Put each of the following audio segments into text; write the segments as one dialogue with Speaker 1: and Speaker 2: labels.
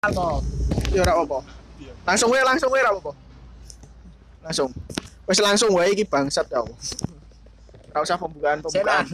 Speaker 1: Apa?
Speaker 2: Ya ora apa. Langsung wae, langsung wae ora apa. Langsung. Wis langsung wae iki bangsat ya. Allah. Ora usah pembukaan
Speaker 1: Senan.
Speaker 2: pembukaan.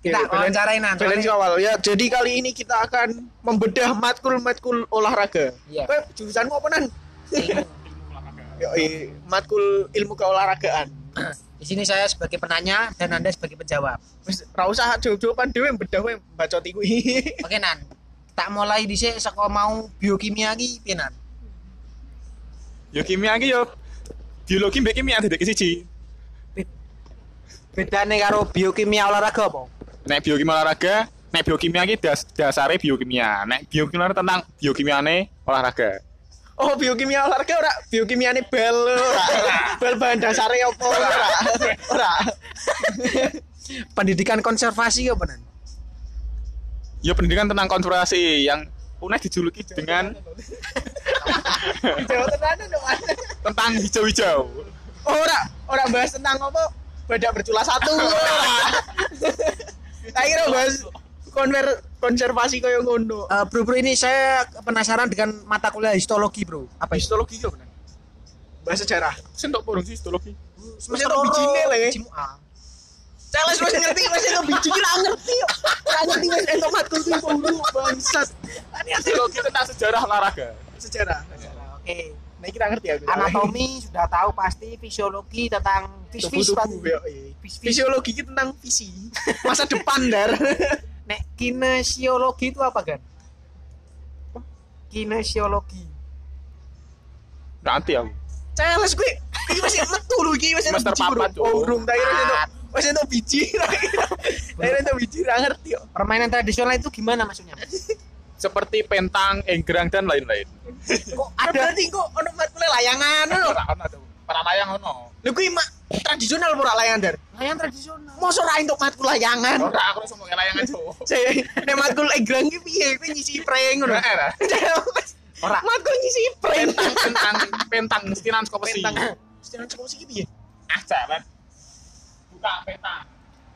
Speaker 1: Kita
Speaker 2: Oke, balance-
Speaker 1: wawancarain nanti.
Speaker 2: balance awal ya. Jadi kali ini kita akan membedah matkul-matkul olahraga.
Speaker 1: Iya.
Speaker 2: Kowe jurusanmu apa nan? Yo, matkul ilmu keolahragaan.
Speaker 1: Di sini saya sebagai penanya dan Anda sebagai penjawab.
Speaker 2: Wis ora usah jawab-jawaban dhewe bedah wae bacot iku.
Speaker 1: Oke, Nan. Tak mulai dhisik saka mau biokimia iki piye, Nan?
Speaker 3: Yo kimia iki yo biologi mbek kimia dedek siji.
Speaker 4: bedane karo biokimia olahraga apa?
Speaker 3: Nek biokimia olahraga, nek biokimia iki das dasare biokimia. Nek biokimia tentang biokimiane olahraga.
Speaker 2: Oh, biokimia olahraga ora biokimiane bal ora. Bal bahan dasare apa ora? Ora.
Speaker 1: Pendidikan konservasi apa, Nan?
Speaker 3: Yo pendidikan tentang konservasi yang UNES dijuluki dengan
Speaker 2: Jawab tenanan dong. Mas.
Speaker 3: tentang hijau-hijau.
Speaker 2: Oh, ora, ora bahas tentang apa? Badak bercula satu. Ora. Tak kira bahas konver konservasi kaya ngono.
Speaker 1: Eh, bro, bro ini saya penasaran dengan mata kuliah histologi, Bro. Apa ya? itu?
Speaker 3: Histologi yo bener.
Speaker 2: Bahas sejarah.
Speaker 3: Sing tok porong sih histologi.
Speaker 2: Semester loro, bijine lah ya.
Speaker 1: Bijine, ah.
Speaker 2: Celes wis ngerti, wis entuk biji ki ra ngerti. yo. Ra ngerti wis entuk matkul ki kudu bangsat. Ani asli
Speaker 3: Histologi tentang sejarah olahraga.
Speaker 2: sejarah.
Speaker 1: Oke.
Speaker 2: Nah, kita ngerti aku.
Speaker 1: Anatomi sudah tahu pasti, fisiologi tentang fis-fis
Speaker 2: tubuh-tubuh.
Speaker 1: pasti.
Speaker 2: yo, iya.
Speaker 1: Fis-fis.
Speaker 2: Fisiologi ki tentang visi. Masa depan dar.
Speaker 1: Nek kinesiologi itu apa, Gan? Kinesiologi.
Speaker 3: Nanti aku.
Speaker 2: Celes kuwi iki wis metu lho iki wis entuk
Speaker 3: Semester
Speaker 2: biji.
Speaker 3: papat,
Speaker 2: bro. Oh,
Speaker 3: Cuk.
Speaker 2: urung tak kira wis entuk wis entuk biji. tak kira. Tak kira entuk biji ra ngerti yo.
Speaker 1: Permainan tradisional itu gimana maksudnya?
Speaker 3: Seperti pentang, enggrang dan lain-lain.
Speaker 2: kok ada Eh, berarti kok ono matkul layangan lho
Speaker 3: Ora ono tuh. Para layang ono.
Speaker 2: lho kuwi mak tradisional ora layangan dar
Speaker 1: Layan tradisional.
Speaker 2: mosok ora entuk matkul layangan
Speaker 3: Ora aku wis mau layangan cuk.
Speaker 2: Saya- nek matkul egrang ki piye kuwi nyisi prank ngono
Speaker 3: Ora, ora. eh.
Speaker 2: ora matkul nyisi prank
Speaker 3: Pentang, pentang, pentang, mestinan sekolah besi.
Speaker 2: pentang setine cukup siki piye
Speaker 3: ah jalan buka peta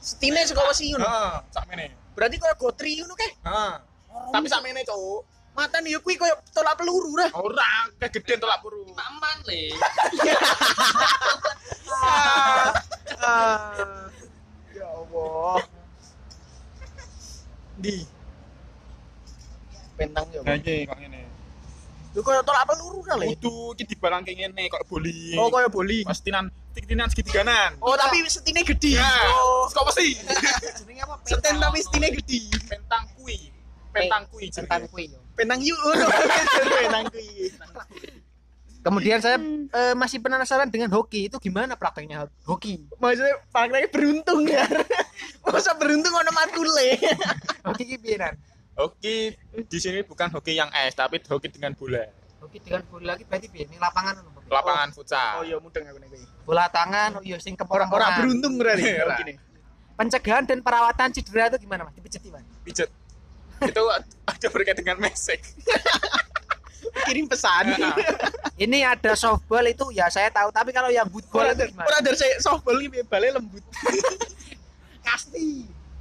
Speaker 2: setine saka wesi ngono
Speaker 3: heeh sak mene
Speaker 2: berarti koyo gotri ngono keh
Speaker 3: heeh Ah. tapi sak mene cuk
Speaker 2: matan yo kuwi koyo tolak peluru lah
Speaker 3: ora kegeden tolak puru
Speaker 5: taman le
Speaker 1: eh,
Speaker 2: ya Allah di pentang yo
Speaker 3: iki kok ngene
Speaker 2: lho koyo tolak peluru lah le
Speaker 3: kudu iki dibalangke ngene kok boli
Speaker 2: oh koyo boli
Speaker 3: pastinan tikinan segitiganan
Speaker 2: Oh tapi setine gede.
Speaker 3: Ya.
Speaker 2: Oh,
Speaker 3: sekolah besi
Speaker 1: Jenenge apa?
Speaker 2: seten tapi setine gede.
Speaker 3: pentang kui
Speaker 2: Eh,
Speaker 3: pentang kui
Speaker 1: Tentang
Speaker 3: jenenge.
Speaker 1: kue.
Speaker 2: Penang yuk oh, ngono. Penang kuwi.
Speaker 1: Kemudian saya eh, masih penasaran dengan hoki. Itu gimana prakteknya hoki?
Speaker 2: Maksudnya pakainya beruntung ya. Masa beruntung ono matule.
Speaker 1: Hoki ki piye, Nan?
Speaker 3: hoki di sini bukan hoki yang es tapi hoki dengan bola
Speaker 1: Hoki dengan bola lagi berarti piye? Ning lapangan ngono. Bro.
Speaker 3: lapangan
Speaker 2: Oh
Speaker 3: futsal
Speaker 2: iya mudeng aku nek iki.
Speaker 1: Bola tangan, oh iya sing
Speaker 2: Ora
Speaker 1: keporong
Speaker 2: ora beruntung ora nih.
Speaker 3: Ora.
Speaker 2: Gini.
Speaker 1: Pencegahan dan perawatan cedera itu gimana, Mas? Dipijeti, Mas.
Speaker 3: pijet itu ada berkait dengan mesek
Speaker 2: Kirim pesan.
Speaker 1: Ini ada softball itu ya saya tahu, tapi kalau yang
Speaker 2: Ora
Speaker 1: football
Speaker 2: ada ora
Speaker 1: itu gimana?
Speaker 2: ada saya softball iki bale lembut.
Speaker 1: Kasti.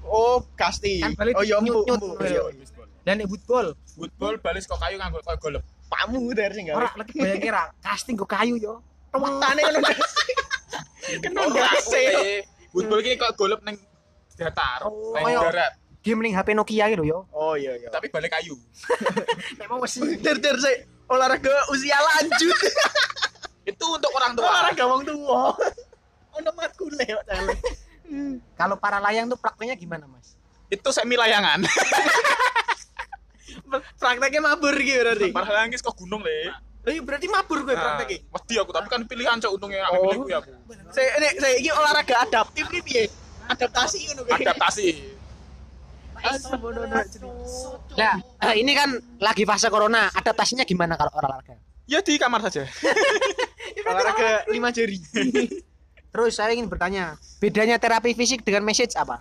Speaker 2: Oh, kasti.
Speaker 1: Kan balik
Speaker 2: Oh iya empuk
Speaker 1: nyut- nyut.
Speaker 2: empuk.
Speaker 1: Oh, iya. Dan nek football,
Speaker 3: Woodball balis kok kayu nganggo kok golep.
Speaker 2: Pamu dari sing gawe.
Speaker 1: ora lagi bayang kira casting go kayu yo.
Speaker 2: Tane ngono.
Speaker 3: Kan
Speaker 2: Kena gase.
Speaker 3: Woodball iki kok golep ning datar,
Speaker 1: Oh,
Speaker 3: ning
Speaker 2: iya.
Speaker 1: kayak-
Speaker 3: darat,
Speaker 1: Game ning HP Nokia gitu yo.
Speaker 2: Oh iya iya.
Speaker 3: tapi balik kayu.
Speaker 1: Emang mesti
Speaker 2: Ter ter saya olahraga usia lanjut.
Speaker 3: Itu untuk orang tua.
Speaker 2: olahraga wong tuwa. Ono matkule kok dalem.
Speaker 1: kalau para layang tuh prakteknya gimana, Mas?
Speaker 3: Itu semi layangan.
Speaker 2: Prakteknya mabur gitu berarti.
Speaker 3: Iya, Parah nangis kok gunung le.
Speaker 2: Lah iya, berarti mabur gue prakteknya.
Speaker 3: Nah, Wedi aku tapi kan pilihan cok
Speaker 2: Oh.
Speaker 3: untungnya aku pilih gue aku.
Speaker 2: Saya ini saya ini olahraga adaptif nih piye? Adaptasi ngono gue.
Speaker 3: Adaptasi.
Speaker 1: Lah, eh, ini kan lagi fase corona, adaptasinya gimana kalau olahraga?
Speaker 3: Ya di kamar saja.
Speaker 2: Olahraga lima jari.
Speaker 1: Terus saya ingin bertanya, bedanya terapi fisik dengan message apa?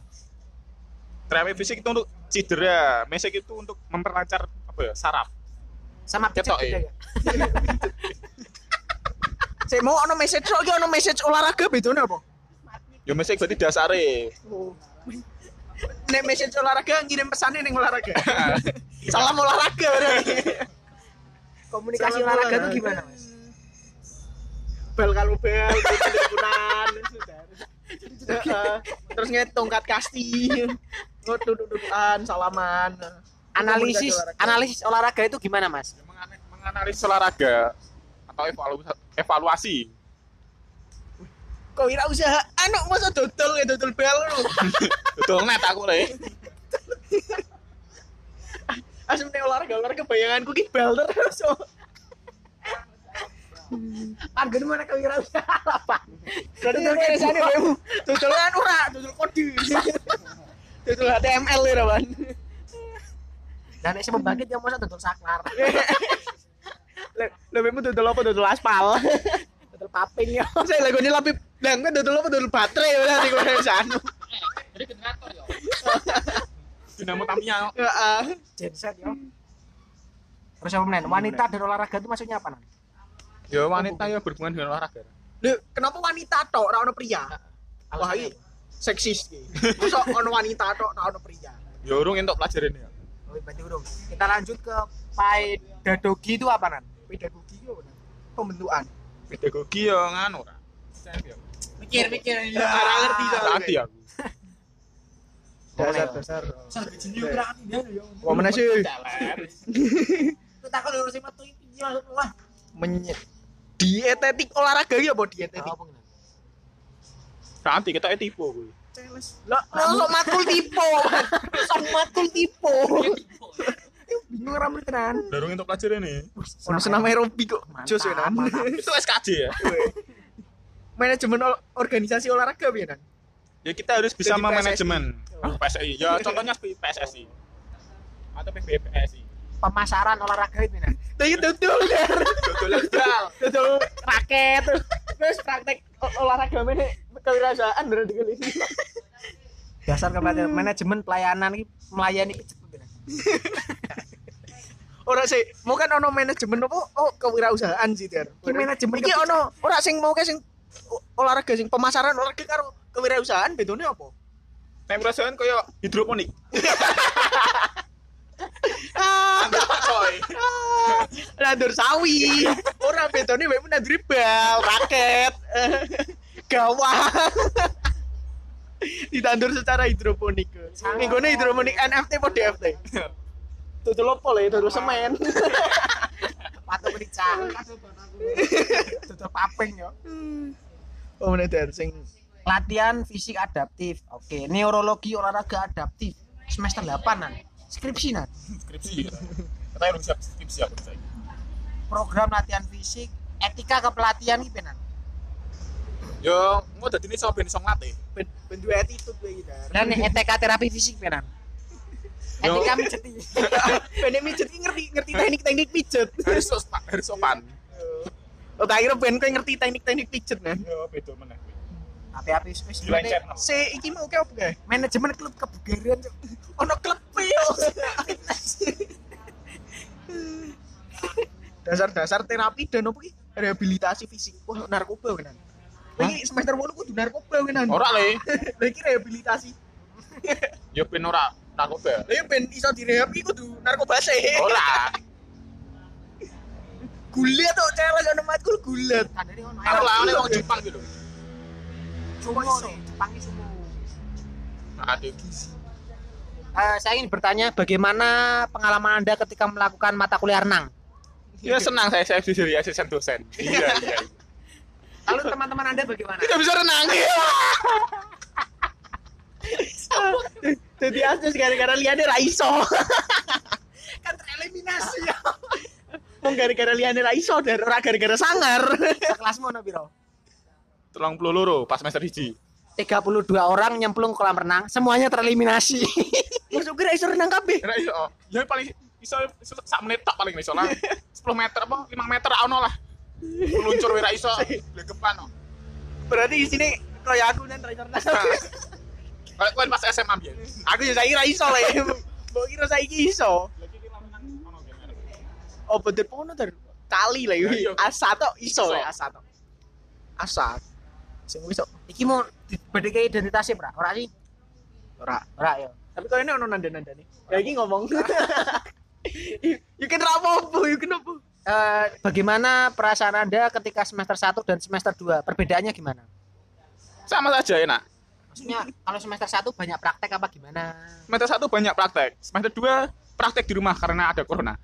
Speaker 3: Terapi fisik itu untuk cedera, mesek itu untuk memperlancar apa ya, saraf.
Speaker 1: Sama pijat
Speaker 3: Ketok,
Speaker 1: beda
Speaker 3: eh.
Speaker 1: ya?
Speaker 2: Saya mau ono message soalnya ono message olahraga bedone apa?
Speaker 3: Ya mesek berarti dasare.
Speaker 2: Nek message olahraga ngirim pesannya ning olahraga. Salam olahraga berarti. Sama
Speaker 1: komunikasi olahraga
Speaker 2: olahraga.
Speaker 1: itu gimana mas
Speaker 2: bal kalau bal kunan terus nge tongkat kasti Oh, duduk-dudukan salaman
Speaker 1: analisis
Speaker 2: Komunikasi olahraga.
Speaker 1: analisis olahraga itu gimana mas
Speaker 3: Mengana- menganalisis olahraga atau evalu- evaluasi
Speaker 2: kok wira usaha anu masa dodol ya dodol bal lu
Speaker 3: betul net aku le
Speaker 2: asmene olahraga olahraga bayanganku ki bal terus so.
Speaker 1: Arga di mana kewirausahaan apa
Speaker 2: dodol kene sane bemu dodol anu ora dodol kode dodol HTML ya Rawan
Speaker 1: dan saya membangkit yang mau saya tuntut saklar
Speaker 2: lo bemu dodol apa dodol aspal
Speaker 1: tuntut paping ya
Speaker 2: saya lagu ini lapip dan kan dodol apa dodol baterai ya nanti gue harus anu
Speaker 3: dinamo tamia
Speaker 2: Heeh.
Speaker 1: genset ya terus apa men wanita dan olahraga itu maksudnya apa Nan?
Speaker 3: ya wanita ya berhubungan dengan olahraga
Speaker 2: Lho, kenapa wanita tok ora ono pria? Wah,
Speaker 1: Nah, Alasannya
Speaker 2: iki seksis iki. Masa ono wanita tok ora ono pria?
Speaker 3: ya urung entuk pelajaran ya
Speaker 1: apa? oh, berarti urung kita lanjut ke pai dadogi itu apa nan
Speaker 2: Pedagogi yo bener. pembentukan.
Speaker 3: pedagogi ya nganu ora
Speaker 2: Mikir-mikir ya ora ngerti ya, soalnya.
Speaker 3: tadi aku
Speaker 2: Dasar-dasar. Wah, mana sih?
Speaker 1: kita kan urusin metu ini wah
Speaker 2: Menyet. Dietetik olahraga iki apa dietetik?
Speaker 3: nanti kita e tipu gue
Speaker 2: Lah, masuk matkul tipe. Masuk matkul tipe.
Speaker 1: bingung ramu tenan
Speaker 3: Darung untuk pelajaran nih.
Speaker 2: Ono senam aerobik kok.
Speaker 1: Mantap,
Speaker 2: Jos ya, Nan.
Speaker 1: mantap.
Speaker 3: Itu SKJ ya.
Speaker 2: Manajemen ol- organisasi olahraga piye, Nan?
Speaker 3: Ya kita harus bisa
Speaker 2: Jadi
Speaker 3: memanajemen. Ah, PSSI. Ya contohnya seperti PSSI. Atau PBPSI.
Speaker 1: pemasaran olahraga itu nan
Speaker 2: Lah iya dodol. Nan.
Speaker 3: Dodolan bal.
Speaker 2: dodol raket terus praktek ol- olahraga mana kewirausahaan berarti kali ini
Speaker 1: dasar kepelatihan manajemen pelayanan ini melayani kecet Nan.
Speaker 2: orang sih mau kan ono manajemen apa oh kewirausahaan sih Tiar
Speaker 1: Ini manajemen
Speaker 2: ini
Speaker 1: kebijakan.
Speaker 2: ono orang sing mau kayak sing o- olahraga sing pemasaran olahraga karo kewirausahaan bedanya apa
Speaker 3: Nek perasaan koyo hidroponik.
Speaker 2: ah
Speaker 3: Ambil tak coy.
Speaker 2: ah, nandur sawi orang bedanya memang nandur bal raket eh, gawang ditandur secara hidroponik ini gue hidroponik NFT apa DFT tutul apa lah ya tutul semen
Speaker 1: patung merica tutup paping yo
Speaker 2: oh mana itu sing
Speaker 1: latihan fisik adaptif oke neurologi olahraga adaptif semester 8 nan skripsi nan
Speaker 3: Skripsi. Kita belum siap skripsi aku saya.
Speaker 1: program latihan fisik etika kepelatihan gitu nan
Speaker 3: Yo, mau dadi ini soben song latte.
Speaker 2: ben- bentuk attitude gue gitu
Speaker 1: dan nih, etika terapi fisik gitu nan
Speaker 3: Yo.
Speaker 1: etika mijeti
Speaker 2: ben mijet ini ngerti ngerti teknik-teknik pijet
Speaker 3: Harus sopan, harus sopan.
Speaker 2: oh tak kira ben kowe ngerti teknik-teknik pijet nah
Speaker 3: Yo, beda meneh. kuwi.
Speaker 1: tapi api wis
Speaker 3: Dilencet.
Speaker 2: si iki mau kayak apa kayak
Speaker 1: manajemen klub kebugaran Cuk.
Speaker 2: ono klub yo dasar-dasar terapi dan apa ki rehabilitasi fisik wah narkoba kan ini semester 8 kudu narkoba kan
Speaker 3: Ora le.
Speaker 2: lagi rehabilitasi
Speaker 3: Yo ben ora narkoba.
Speaker 2: Lah ben iso direhab iki kudu narkoba sih.
Speaker 3: Ora.
Speaker 2: Gulat tok challenge ono matkul gulat.
Speaker 1: tandanya ngono
Speaker 3: Aku
Speaker 1: ayo
Speaker 3: lawannya wong Jepang gitu.
Speaker 1: sumo nih Jepangnya sumo
Speaker 3: Nah, ada gizi.
Speaker 1: Eh, saya ingin bertanya bagaimana pengalaman anda ketika melakukan mata kuliah renang
Speaker 3: Ya senang saya saya jadi asisten dosen. Iya, iya.
Speaker 1: lalu teman-teman anda bagaimana
Speaker 3: Kita bisa renang.
Speaker 2: Dadi asus gara-gara liyane ra iso. kan tereliminasi ya. Mung gara-gara liyane ra iso dan ora gara-gara sangar.
Speaker 1: kelasmu ono biro
Speaker 3: Tolong puluh loro pas semester hiji.
Speaker 1: 32 orang nyemplung ke kolam renang semuanya tereliminasi
Speaker 2: Masuk kira iso renang kabeh.
Speaker 3: Kira iso. Ya paling iso iso sak menit tak paling iso lah. 10 meter apa 5 meter ra ono lah. Meluncur wira iso. oh. Legepan. no.
Speaker 2: Berarti di sini kaya aku dan ra iso renang.
Speaker 3: Kayak kowe pas SMA biyen.
Speaker 2: Nah, aku yo saiki ra iso le. Mbok kira saiki iso.
Speaker 3: Lagi ki lamenang ono gimana.
Speaker 2: Apa der pono der kali lah iki. Asa tok Nah, iya. iso ya, le asa tok. Asa. Sing iso
Speaker 1: iki mau dibedeke identitasnya pra ora sih
Speaker 2: ora.
Speaker 1: ora ya
Speaker 2: Tapi kalau ini ono nanda-nanda nih. Ya iki ngomong. you can rapo apa? You can apa?
Speaker 1: eh, bagaimana perasaan Anda ketika semester 1 dan semester 2? Perbedaannya gimana?
Speaker 3: Sama saja enak.
Speaker 1: Maksudnya kalau semester 1 banyak praktek apa gimana?
Speaker 3: Semester satu banyak praktek. Semester dua praktek di rumah karena ada corona.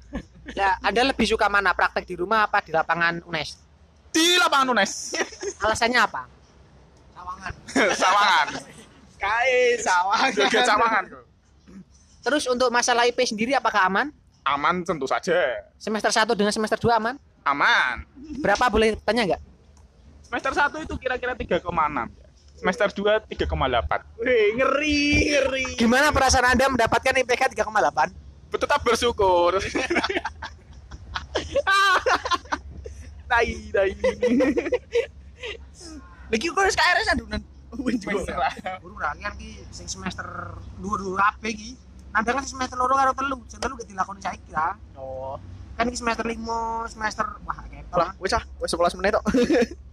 Speaker 1: Ya, Anda lebih suka mana? Praktek di rumah apa di lapangan UNES?
Speaker 3: Di lapangan UNES.
Speaker 1: Alasannya apa?
Speaker 3: Sawangan.
Speaker 2: Kai sawangan.
Speaker 3: Joget Sawangan.
Speaker 1: Terus untuk masalah IP sendiri apakah aman?
Speaker 3: Aman tentu saja.
Speaker 1: Semester 1 dengan semester 2 aman?
Speaker 3: Aman.
Speaker 1: Berapa boleh tanya nggak?
Speaker 3: Semester satu itu kira-kira 3,6. ya. Semester dua 3,8.
Speaker 2: Wih, ngeri, ngeri.
Speaker 1: Gimana perasaan Anda mendapatkan IPK 3,8?
Speaker 3: Tetap bersyukur.
Speaker 2: Tai, tai. Lagi kok harus KRS adunan. Wih, juga.
Speaker 1: Guru rakyat ki sing semester 2 2 ape ki. Anda kan semester loro karo telu, sing telu gak dilakoni saiki lah.
Speaker 2: Oh.
Speaker 1: Kan iki semester 5, semester wah ketok.
Speaker 2: Alah, wis ah, wis 11 menit tok.